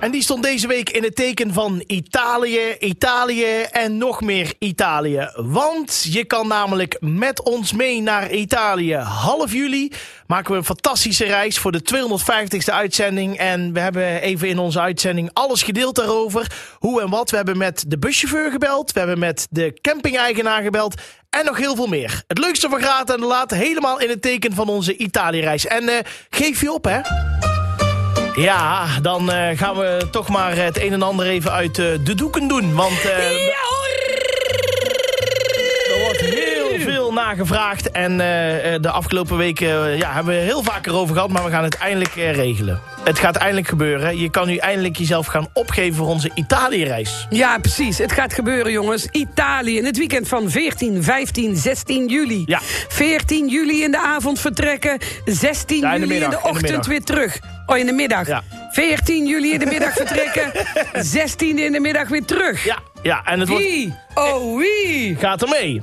En die stond deze week in het teken van Italië, Italië en nog meer Italië. Want je kan namelijk met ons mee naar Italië. Half juli maken we een fantastische reis voor de 250ste uitzending. En we hebben even in onze uitzending alles gedeeld daarover. Hoe en wat. We hebben met de buschauffeur gebeld. We hebben met de camping-eigenaar gebeld. En nog heel veel meer. Het leukste van Graat en de Laat helemaal in het teken van onze Italië-reis. En eh, geef je op, hè? Ja, dan eh, gaan we toch maar het een en ander even uit eh, de doeken doen. Want eh, er wordt heel veel nagevraagd. En eh, eh, de afgelopen weken eh, ja, hebben we heel vaak erover gehad. Maar we gaan het eindelijk eh, regelen. Het gaat eindelijk gebeuren. Je kan nu eindelijk jezelf gaan opgeven voor onze Italië-reis. Ja, precies. Het gaat gebeuren, jongens. Italië in het weekend van 14, 15, 16 juli. Ja. 14 juli in de avond vertrekken. 16 Ja, in de juli in middag, de in de ochtend middag. weer terug. Oh, in de middag. Ja. 14 juli in de middag vertrekken. 16 in de middag weer terug. Ja, ja en het wordt, Wie? Oh, wie? gaat er mee.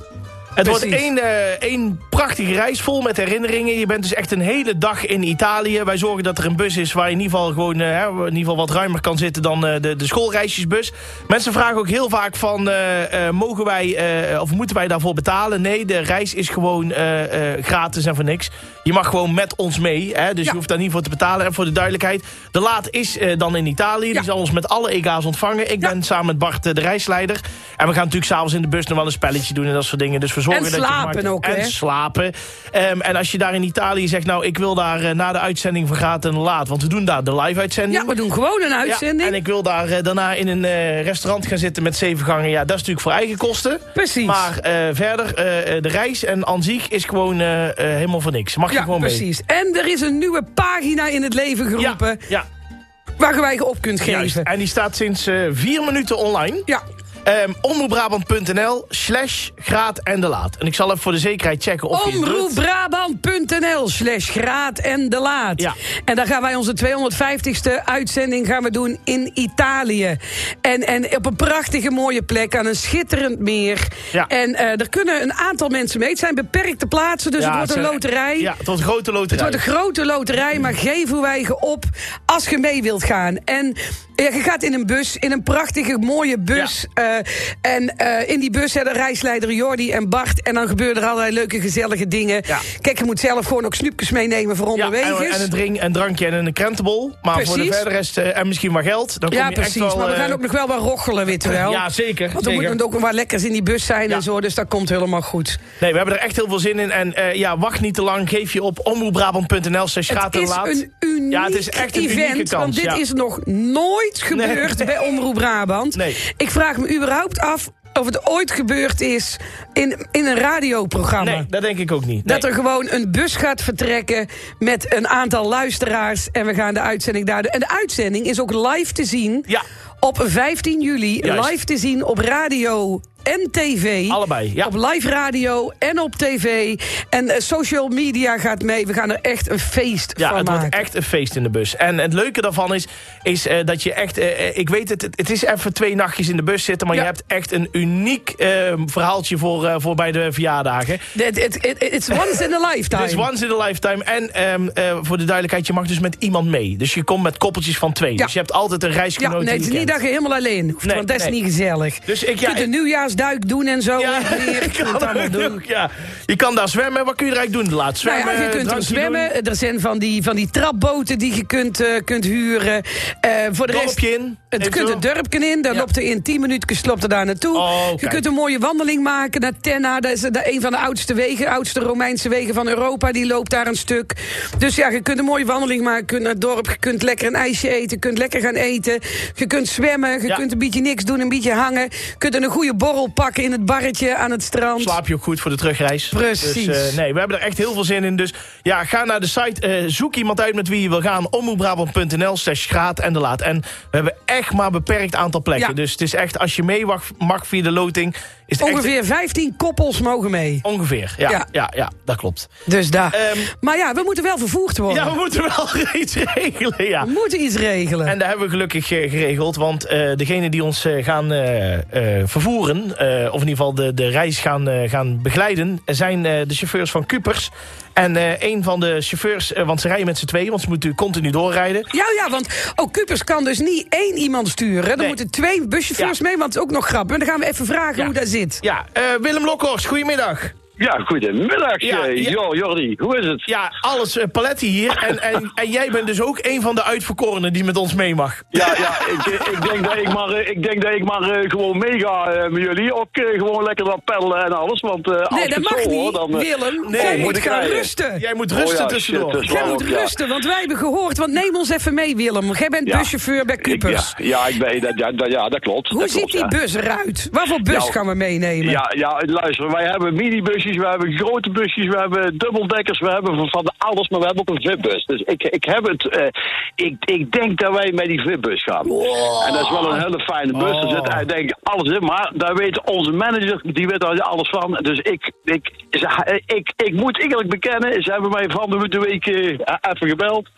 Het wordt Precies. één, eh, één prachtige reis vol met herinneringen. Je bent dus echt een hele dag in Italië. Wij zorgen dat er een bus is waar je in ieder geval, gewoon, eh, hè, in ieder geval wat ruimer kan zitten dan eh, de, de schoolreisjesbus. Mensen vragen ook heel vaak van, eh, eh, mogen wij eh, of moeten wij daarvoor betalen? Nee, de reis is gewoon eh, eh, gratis en voor niks. Je mag gewoon met ons mee, hè, dus Ja. je hoeft daar niet voor te betalen. En voor de duidelijkheid, de laat is eh, dan in Italië. Ja. Die zal ons met alle EGA's ontvangen. Ik Ja. ben samen met Bart eh, de reisleider. En we gaan natuurlijk s'avonds in de bus nog wel een spelletje doen en dat soort dingen. Dus we zorgen En dat je slapen gemaakt- ook, En hè? slapen. Ehm, en als je daar in Italië zegt, nou, ik wil daar eh, na de uitzending van Gaat en Laat. Want we doen daar de live-uitzending. Ja, we doen gewoon een Ja, uitzending. en ik wil daar eh, daarna in een eh, restaurant gaan zitten met zeven gangen. Ja, dat is natuurlijk voor eigen kosten. Precies. Maar eh, verder, eh, eh, de reis en an zich is gewoon eh, eh, helemaal voor niks. Mag je ja, gewoon mee. precies. En er is een nieuwe pagina in het leven Ja, geroepen... ja, waar je wij op kunt juist. geven. En die staat sinds eh, vier minuten online. Ja, Ehm omroepbrabant.nl slash graat en de laat. En ik zal even voor de zekerheid checken of je het doet. Omroepbrabant.nl slash graad en de laat. Ja. En daar gaan wij onze 250ste uitzending gaan we doen in Italië. En, en op een prachtige mooie plek aan een schitterend meer. Ja. En eh, er kunnen een aantal mensen mee. Het zijn beperkte plaatsen, dus Ja, het wordt een zijn- loterij. Ja, het wordt een grote Het loterij. wordt een grote loterij, maar geef uw eigen op als je mee wilt gaan. En ja, je gaat in een bus, in een prachtige, mooie bus. Eh, en eh, in die bus hebben reisleider Jordi en Bart. En dan gebeuren er allerlei leuke, gezellige dingen. Ja. Kijk, je moet zelf gewoon ook snoepjes meenemen voor ja, onderweg. en, en een drink, een drankje en een krentenbol. Maar voor de Precies. verdere rest, eh, en misschien maar geld. Dan kom ja, je precies. Echt wel, maar we eh, gaan ook nog wel wat rochelen, weet je wel. Ja, zeker. Want er zeker. moeten ook wel wat lekkers in die bus zijn Ja. en zo. Dus dat komt helemaal goed. Nee, we hebben er echt heel veel zin in. En eh, ja, wacht niet te lang. Geef je op omroepbrabant.nl slash gaat Het en is laat. een uniek Ja, het is echt een unieke event, kans, want dit ja. is nog nooit gebeurd bij Omroep Brabant. Nee. Ik vraag me überhaupt af of het ooit gebeurd is in, in een radioprogramma. Nee, dat denk ik ook niet. Dat er gewoon een bus gaat vertrekken met een aantal luisteraars. En we gaan de uitzending daar doen. En de uitzending is ook live te zien Ja. op 15 juli. Juist. Live te zien op radio en tv. Allebei, ja. Op live radio en op tv. En eh, social media gaat mee. We gaan er echt een feest Ja, van het maken. wordt echt een feest in de bus. En het leuke daarvan is, is eh, dat je echt... eh, eh, ik weet het, het is even twee nachtjes in de bus zitten... maar Ja. je hebt echt een uniek eh, verhaaltje voor, eh, voor bij de verjaardagen. Het it, it, it's once in a lifetime. Het is once in a lifetime. En ehm, eh, voor de duidelijkheid, je mag dus met iemand mee. Dus je komt met koppeltjes van twee. Ja. Dus je hebt altijd een ja, reisgenoot nee, die het is je niet kent. dat je helemaal alleen hoeft, Nee, want dat is nee. niet gezellig. Dus ik- ja, je kunt een nieuwjaarsduik doen en zo. Ja, en ik weer. Je kunt kan het allemaal het doen. ook, ja. Je kan daar zwemmen. Wat kun je er eigenlijk doen? Laat Nou zwemmen. ja, je kunt er drankje zwemmen. doen, Er zijn van die, van die trapboten die je kunt, eh, kunt huren. Eh, voor de rest, Dorpje in. het eventueel. kunt het dorpje in. Daar Ja. loopt er in 10 minuutjes loopt er daar naartoe. Oh, je kijk. kunt een mooie wandeling maken naar Tenna. Dat is de- een van de oudste wegen, oudste Romeinse wegen van Europa. Die loopt daar een stuk. Dus ja, je kunt een mooie wandeling maken. Je kunt naar het dorp. Je kunt lekker een ijsje eten. Je kunt lekker gaan eten. Je kunt zwemmen. Je Ja. kunt een beetje niks doen. Een beetje hangen. Je kunt een goede borrel pakken in het barretje aan het strand. Slaap je ook goed voor de terugreis. Precies. Dus, eh, nee, we hebben er echt heel veel zin in. Dus ja, ga naar de site. eh, zoek iemand uit met wie je wil gaan. Omroepbrabant.nl slash graad en de laat. En we hebben echt maar een beperkt aantal plekken. Ja. Dus het is echt, als je mee mag, mag via de loting... Is het echt- Ongeveer 15 koppels mogen mee. Ongeveer, ja, ja. Ja. ja, dat klopt. Dus daar. Ehm, maar ja, we moeten wel vervoerd worden. Ja, we moeten wel iets regelen, ja. We moeten iets regelen. En dat hebben we gelukkig eh, geregeld, want eh degene die ons eh, gaan eh, eh, vervoeren, eh, of in ieder geval de, de reis gaan, eh, gaan begeleiden, zijn eh, de chauffeurs van Kupers. En eh, een van de chauffeurs, eh, want ze rijden met z'n tweeën, want ze moeten continu doorrijden. Ja, ja, want ook Cupers kan dus niet één iemand sturen. Er Nee. moeten twee buschauffeurs Ja. mee, want het is ook nog grappig. En dan gaan we even vragen Ja. hoe dat zit. Ja, eh, Willem Lokhorst, goedemiddag. Ja, goedemiddag. Ja, Ja, ja. Jo, Jordi, hoe is het? Ja, alles eh, paletti hier. En, en, en jij bent dus ook een van de uitverkorenen die met ons mee mag. Ja, ja, ik, ik, denk dat ik, maar, eh, ik denk dat ik maar eh, gewoon meega eh, met jullie. Ook eh, gewoon lekker wat peddelen en alles. Want eh, als Nee, ik dat het mag zo hoor, niet, dan... eh, Willem. nee, Jij moet moet ik gaan rijden. rusten. Jij moet Oh rusten ja, tussendoor. shit, dus- Jij Waarom? moet Ja. rusten, want wij hebben gehoord. Want neem ons even mee, Willem. Jij bent Ja. buschauffeur bij ik- ja, Cupers. ja, ik weet dat, ja, dat, ja, dat klopt. Hoe dat ziet klopt, die ja. bus eruit? Wat voor bus Ja, gaan we meenemen? Ja, ja, luister, wij hebben minibusjes, we hebben grote busjes, we hebben dubbeldekkers, we hebben van- van de alles, maar we hebben ook een VIP-bus. Dus ik, ik heb het, eh, ik, ik denk dat wij met die VIP-bus gaan. En dat is wel een hele fijne bus, er zit eigenlijk denk ik alles in, maar daar weet onze manager, die weet daar alles van. Dus ik, ik, ze- ik, ik moet eerlijk bekennen, ze hebben mij van de de week eh, even gebeld.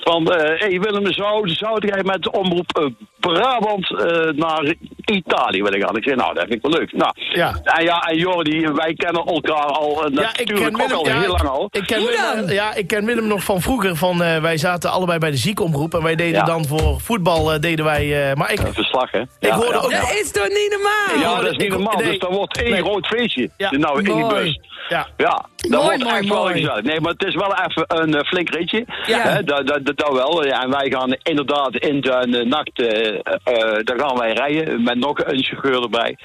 Van, eh hey Willem, zou, zou jij met de omroep eh, Brabant eh, naar Italië willen gaan? Ik zei, nou, dat vind ik wel leuk. Nou, Ja. En ja, en Jordi, wij kennen elkaar al eh, Ja, ik ken natuurlijk Willem, ook al ja, heel ik- lang al. Ik ken Hoe Willem, dan? ja, ik ken Willem nog van vroeger. Van, eh, wij zaten allebei bij de ziekenomroep. En wij deden Ja. dan voor voetbal. eh, deden wij, eh, maar ik, Verslag, hè? Ik hoorde ja. ook- Dat is toch niet normaal? Ja, dat is niet Ik- normaal. nee. Dus dat wordt één Nee. groot feestje. Ja. Nou, in die Mooi. bus. Ja. Ja, dat Mooi, wordt mooi, echt wel mooi. gezellig. Nee, maar het is wel even een eh, flink ritje. Ja. Hè, dat, dat, dat, dat wel. Ja, en wij gaan inderdaad in de eh, nacht, eh, eh, eh, daar gaan wij rijden met nog een chauffeur erbij.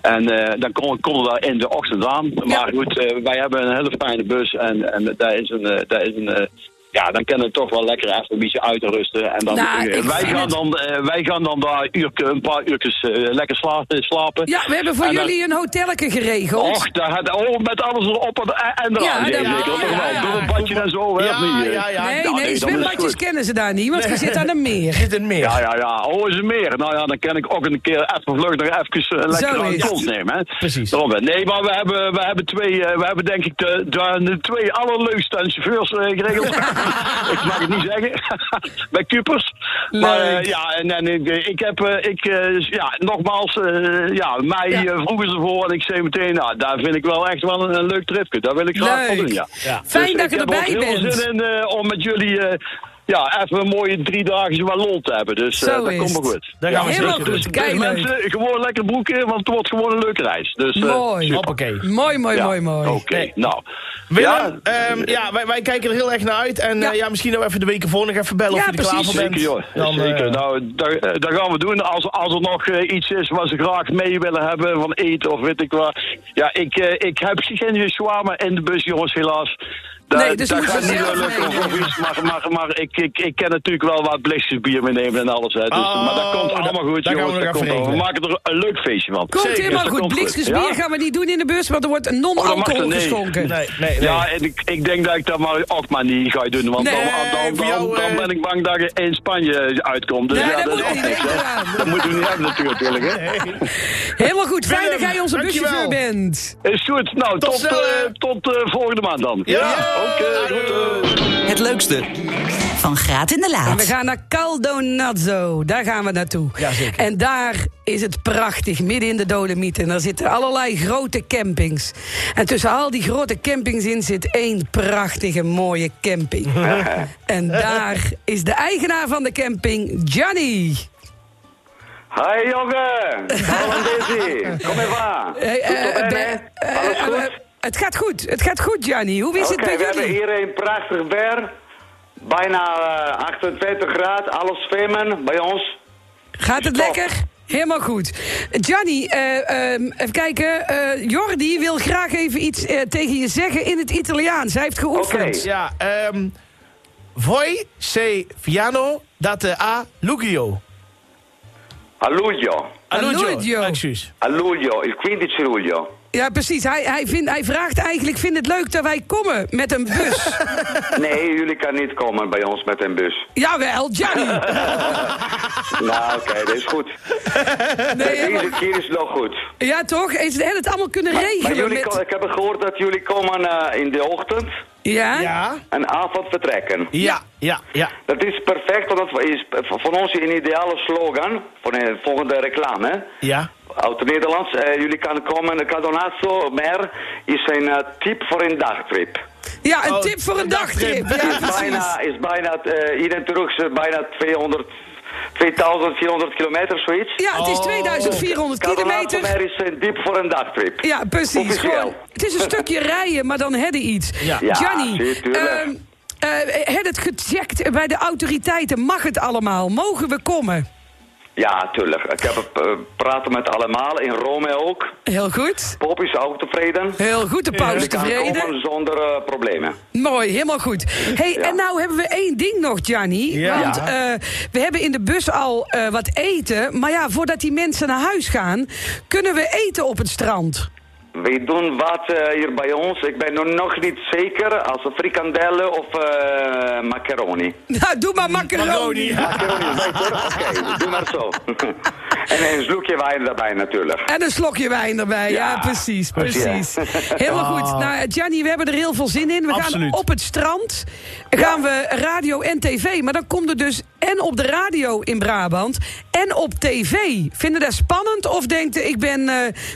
En eh, dan komen komen we daar in de ochtend aan. Maar goed, eh, wij hebben een hele fijne bus en, en daar is een... eh, daar is een eh, ja, dan kunnen we toch wel lekker even een beetje uitrusten. En dan, Nou, eh, ik wij, vind gaan het- dan, eh, wij gaan dan daar uurke, een paar uurtjes eh, lekker sla- slapen. Ja, we hebben voor En dan- jullie een hotelletje geregeld. Och, daar had, oh, met alles erop en, en eraan. Ja, Ja, dat- zeker. ja, toch ja, wel. ja. Door een badje en zo, hè, Ja, of niet? eh? hè? ja, ja. nee, nee, Ja, nou, nee, dan is het zwembadjes goed. kennen ze daar niet, want je zit aan een meer. zit in meer. Ja, ja, ja. Oh, is er meer. Nou ja, dan kan ik ook een keer even vlug nog even eh, lekker Zo aan is de kont nemen. Hè. Precies. Daarom, hè. nee, maar we hebben, we hebben twee, eh, we hebben denk ik de, de, de twee allerleukste en chauffeurs eh, geregeld. ik mag het niet zeggen. Bij Cupers. Maar eh, Leuk. ja, en, en ik, eh, ik heb, eh, ik, eh, ja, nogmaals, eh, ja, mij Ja. eh, vroegen ze voor en ik zei meteen, nou, daar vind ik wel echt wel een, een leuk tripje. Daar wil ik graag van Leuk. doen, ja. Ja. Fijn Dus dat je Ik erbij heb ook heel bent. zin in eh, om met jullie... eh, ja, even een mooie drie dagen wat lol te hebben. Dus eh, Zo dat is komt wel het. goed. Daar gaan we Helemaal zeker goed. doen. Dus Kijk, leuk. mensen, gewoon lekker broeken, want het wordt gewoon een leuke reis. Dus, eh, Mooi. super. Hoppakee. Mooi, mooi, Ja, mooi, mooi. Oké, Nee. nou. Willem, eh, Ja, ja, ja wij, wij kijken er heel erg naar uit. En Ja. eh, ja, misschien nog even de weken voor nog even bellen Ja, of je er klaar precies. voor bent. Zeker, joh. Dan, eh, Zeker. Nou, dat, eh, dat gaan we doen. Als, als er nog eh, iets is wat ze graag mee willen hebben van eten of weet ik wat. Ja, ik, eh, ik heb geen shawarma in de bus, jongens, helaas. Dat, Nee, dus dat moeten gaat we niet zelf lukken of- of meenemen. iets, maar, maar, maar ik, ik, ik kan natuurlijk wel wat blikjes bier meenemen en alles. Hè. Dus, Oh, maar dat komt dat- allemaal dat goed, gaan we jongens. nog dat even komt wel. we regelen. maken er een leuk feestje van. Komt Zeker, helemaal dat goed. komt goed. Blikjes bier Ja? gaan we niet doen in de bus, want er wordt Oh, dat mag non-alcohol er, nee. geschonken. nee, nee, nee. Ja, en ik, ik denk dat ik dat maar ook maar niet ga doen. Want Nee, dan, dan, voor dan, jou, dan eh, ben ik bang dat je in Spanje uitkomt. Dus Nee, ja, dat dat, moet is niet, ook niks, denk hè. eraan. Dat moeten we niet hebben natuurlijk, Willem, hè. Helemaal goed. Fijn dat Willem, jij onze dankjewel. buschauffeur bent. Is goed. Nou, Tot tot, snel, eh, hè. tot eh, volgende maand dan. Ja. Oké, goed. eh. Het leukste, Van Graat in de En we Laat. gaan naar Caldonazzo. Daar gaan we naartoe. Jazeker. En daar is het prachtig, midden in de Dolomieten. En daar zitten allerlei grote campings. En tussen al die grote campings in zit één prachtige mooie camping. en daar is de eigenaar van de camping, Johnny. Hoi jongen, hallo Dizzy, kom even aan. Hey, eh, Goed op, eh, hè? eh, Alles eh, goed? eh, het gaat goed, het gaat goed, Johnny. Hoe is Oké, het we bij hebben jullie? hier een prachtig weer. Bijna eh, 28 graden, alles zwemmen bij ons. Gaat het Top. lekker? Helemaal goed. Johnny, eh, ehm, even kijken. Eh, Jordi wil graag even iets eh, tegen je zeggen in het Italiaans. Hij heeft geoefend. Oké. Ja, ehm voi se fiano dat de a Lugio. A luglio, A Lugio. Excuus. a luglio, il 15 luglio. Ja, precies. Hij, hij, vindt, hij vraagt eigenlijk, vindt het leuk dat wij komen met een bus? Nee, jullie kan niet komen bij ons met een bus. Jawel, Johnny. Nou, oké, dat is goed. Nee, hè, Deze maar- keer is het nog goed. ja, toch? Is het, en het allemaal kunnen Maar regelen jullie, met- ko- ik heb gehoord dat jullie komen eh, in de ochtend Ja? Ja, en avond vertrekken. ja, ja, ja. Dat is perfect, want dat is voor ons een ideale slogan voor de volgende reclame. ja. Uit Nederlands, eh, jullie kan komen, Cadonazzo Mer is een eh, tip voor een dagtrip. Ja, een Oh, tip voor een een dagtrip. dagtrip. Ja, Is precies. bijna, is bijna eh, hier in Turks eh, bijna 200, 2400 kilometer, zoiets. Ja, het is 2400 Cadonazzo kilometer. Mer is een tip voor een dagtrip. Ja, precies. Officieel. Gewoon, het is een stukje rijden, maar dan hadden iets. Ja. Ja, Gianni, zie, tuurlijk. ehm, eh, had het gecheckt bij de autoriteiten? Mag het allemaal? Mogen we komen? Ja, tuurlijk. Ik heb eh, praten met allemaal, in Rome ook. Heel goed. Pop is ook tevreden. Heel goed, de paus Jullie kan tevreden. komen zonder eh, problemen. Mooi, helemaal goed. Hey, En nou hebben we één ding nog, Gianni. Ja. Want eh, we hebben in de bus al eh, wat eten. Maar ja, voordat die mensen naar huis gaan... kunnen we eten op het strand. We doen wat eh, hier bij ons. Ik ben nog- nog niet zeker als frikandellen of eh macaroni. Nou, doe maar macaroni. Macaroni is beter? Oké, doe maar zo. en een slokje wijn daarbij natuurlijk. En een slokje wijn erbij. Ja, Ja, precies, goed, ja. precies. Helemaal goed. Nou, Gianni, we hebben er heel veel zin in. We Ah. Absoluut. gaan op het strand, gaan we radio en tv. Maar dan komt er dus en op de radio in Brabant en op tv. Vinden dat spannend of denkt eh, ik ben, eh,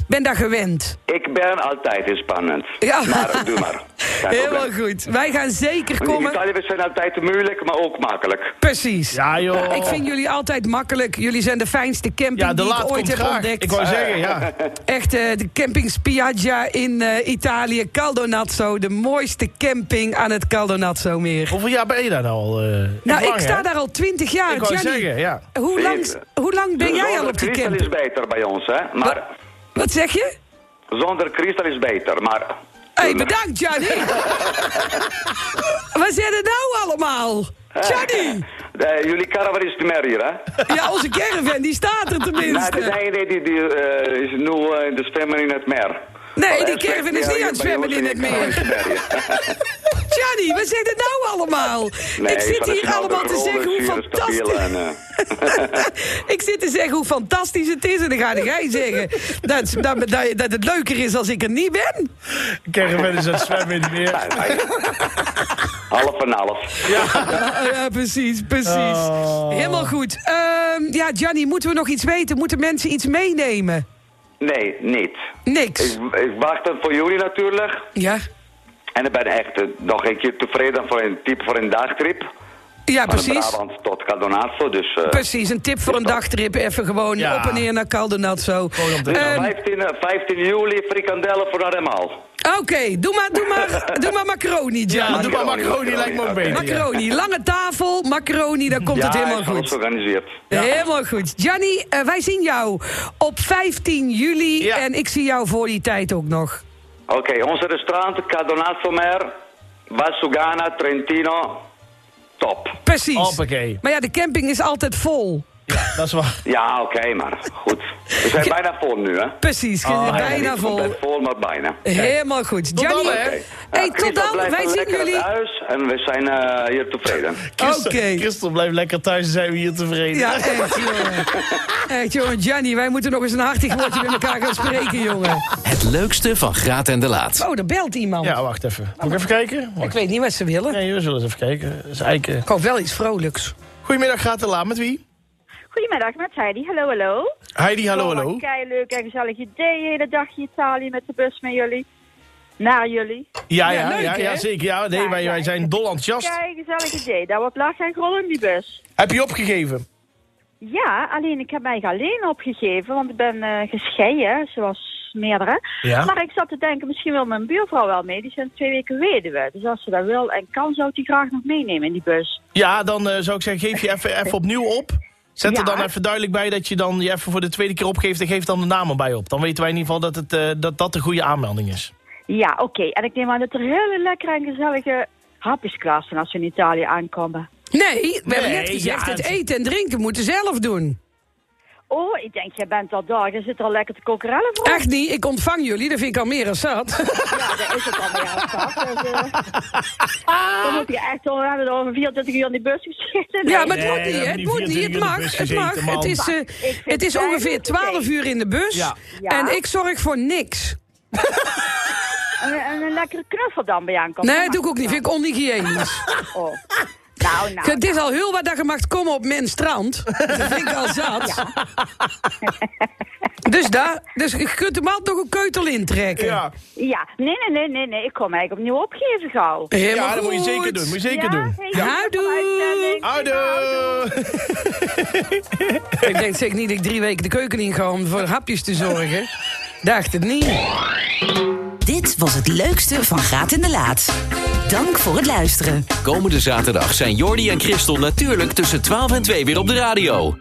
ben daar gewend? Ik ben altijd spannend. Ja. Maar doe maar. Geen Helemaal probleem. goed. Wij gaan zeker In komen. Italië we zijn altijd moeilijk, maar ook makkelijk. Precies. Ja, joh. Ik vind jullie altijd makkelijk. Jullie zijn de fijnste camping ja, de die laat ik ooit komt heb graag. ontdekt. Ik wou zeggen, ja. Echt, eh, de camping Spiaggia in eh, Italië, Caldonazzo. De mooiste camping aan het Caldonazzo-meer. Hoeveel jaar ben je daar nou al? eh, niet Nou, lang, hè? ik sta daar al twintig jaar, Ik wou Gianni. zeggen, ja. Hoe lang, Zeker. hoe lang ben jij al Dus Zonder op die kristal is camping? beter bij ons, hè? Maar Wat zeg je? zonder kristal is beter, maar... Hé, hey, bedankt, Gianni. Wat zijn er nou allemaal? Gianni! Eh, jullie caravan is niet meer hier, hè? Ja, onze caravan, die staat er Nou, tenminste. de ene die, die eh, is nu eh, in de zwemmen in het meer. Nee, die Eh, zwemt caravan is hier niet aan het bij zwemmen ons in het caravan meer. is Gianni, wat zijn er nou allemaal? Nee, ik zit van de hier Sinalde allemaal te Groene, zeggen hoe Sierra Stabiele fantastisch... en, eh, ik zit te zeggen hoe fantastisch het is. En dan ga jij zeggen dat, dat, dat, dat het leuker is als ik er niet ben. Caravan is aan het zwemmen in het meer. eh, half en half. Ja, ja, precies, precies. Oh. Helemaal goed. Ehm, ja, Gianni, moeten we nog iets weten? Moeten mensen iets meenemen? Nee, niet. Niks. Ik, ik wacht het voor jullie natuurlijk. Ja, En ik ben echt eh, nog een keer tevreden voor een tip voor een dagtrip. ja Van precies. Brabant tot Caldonazzo. Dus, eh, Precies, een tip voor een dagtrip. Even gewoon Ja. op en neer naar Caldonazzo. dus Ehm, 15, eh, 15 juli, frikandellen voor allemaal. Oké, doe, maar, doe, maar, doe maar macaroni, Ja, Gianni. doe maar macaroni, Macaroni, lijkt me ook beter. ja. Macaroni, lange tafel, macaroni, dan komt het ja, helemaal is alles goed. georganiseerd. Helemaal goed. Gianni, eh, wij zien jou op 15 juli. Ja. En ik zie jou voor die tijd ook nog. Oké, onze restaurant Cadonazzo Mer, Valsugana, Trentino. Top. Precies. Hoppakee. Maar ja, de camping is altijd vol. Ja, dat is waar. Ja, oké, maar goed. We zijn bijna vol nu, hè? Precies, Oh, bijna Niet vol. compleet vol, maar bijna. Helemaal goed. Gianni, dan, hè? hey, Christel tot dan. blijft Wij zien lekker jullie. thuis en we zijn eh, hier tevreden. Christel, Oké. Christel, blijf lekker thuis en zijn we hier tevreden. Ja, eh. echt, jongen. Echt, jongen. Gianni, wij moeten nog eens een hartig woordje met elkaar gaan spreken, jongen. Het leukste van Graat en de Laat. Oh, er belt iemand. Ja, wacht even. Moet ik even kijken? Ik Wacht. weet niet wat ze willen. Nee, we zullen eens even kijken. Dat is Eike. Ik hoop wel iets vrolijks. Goedemiddag, gaat de laan met wie? Goedemiddag met Heidi. Hallo, hallo. Oh, Heidi, hallo, hallo. Kei leuk en gezellig idee. Hele dagje Italië met de bus met jullie. Naar jullie. Ja, Ja, ja, leuk, ja, hè? ja zeker. Ja, nee, Ja, wij, ja, wij ik zijn vind dol enthousiast. Kei gezellig idee. Daar wordt lachen en rollen in die bus. Heb je opgegeven? Ja, alleen ik heb mij alleen opgegeven, want ik ben eh, gescheiden, zoals meerdere. Ja. Maar ik zat te denken, misschien wil mijn buurvrouw wel mee. Die zijn twee weken weduwe. Dus als ze dat wil en kan, zou ik die graag nog meenemen in die bus. Ja, dan eh, zou ik zeggen, geef je even, even opnieuw op. Zet er Ja. dan even duidelijk bij dat je dan je even voor de tweede keer opgeeft... en geef dan de namen bij op. Dan weten wij in ieder geval dat het, eh, dat, dat de goede aanmelding is. Ja, oké. En ik neem aan dat er hele lekkere en gezellige hapjes klaar zijn als we in Italië aankomen. Nee, we hebben net Nee, gezegd, ja, het het- eten en drinken moeten zelf doen. Oh, ik denk, jij bent al daar. Je zit al lekker te kokerellen voor. Echt niet, ik ontvang jullie, dat vind ik al meer dan zat. Ja, dat is het al bij jou, schat. Dus, eh, Dan moet je echt al, we hebben er over 24 uur in die bus gezeten. Ah. Ja, maar het Nee, moet we niet, hè? hebben het die moet niet, 24 uur het in de mag, bus het mag. gezeten, man. Het is, eh, vind het is het ongeveer eigenlijk 12 oké. uur in de bus Ja. Ja. en ik zorg voor niks. En, en een lekkere knuffel dan bij aankomt. Nee, dat doe ik ook niet, vind ik onhygiënisch. Oh. Nou, nou. Het is al heel wat dat je mag komen op mijn strand. Dat vind ik al zat. Dus, daar, dus je kunt hem altijd nog een keutel intrekken. Ja, Ja, nee, nee, nee, nee, nee. Ik kom eigenlijk opnieuw opgeven gauw. Helemaal ja dat moet je goed. zeker doen. Moet je zeker doen. hey, Ja. Houdoe. uitzending. Houdoe! Ik denk zeker niet dat ik drie weken de keuken in ga om voor hapjes te zorgen. Dacht het niet. Dit was het leukste van Graat in de Laat. Dank voor het luisteren. Komende zaterdag zijn Jordi en Christel natuurlijk tussen 12 en 2 weer op de radio.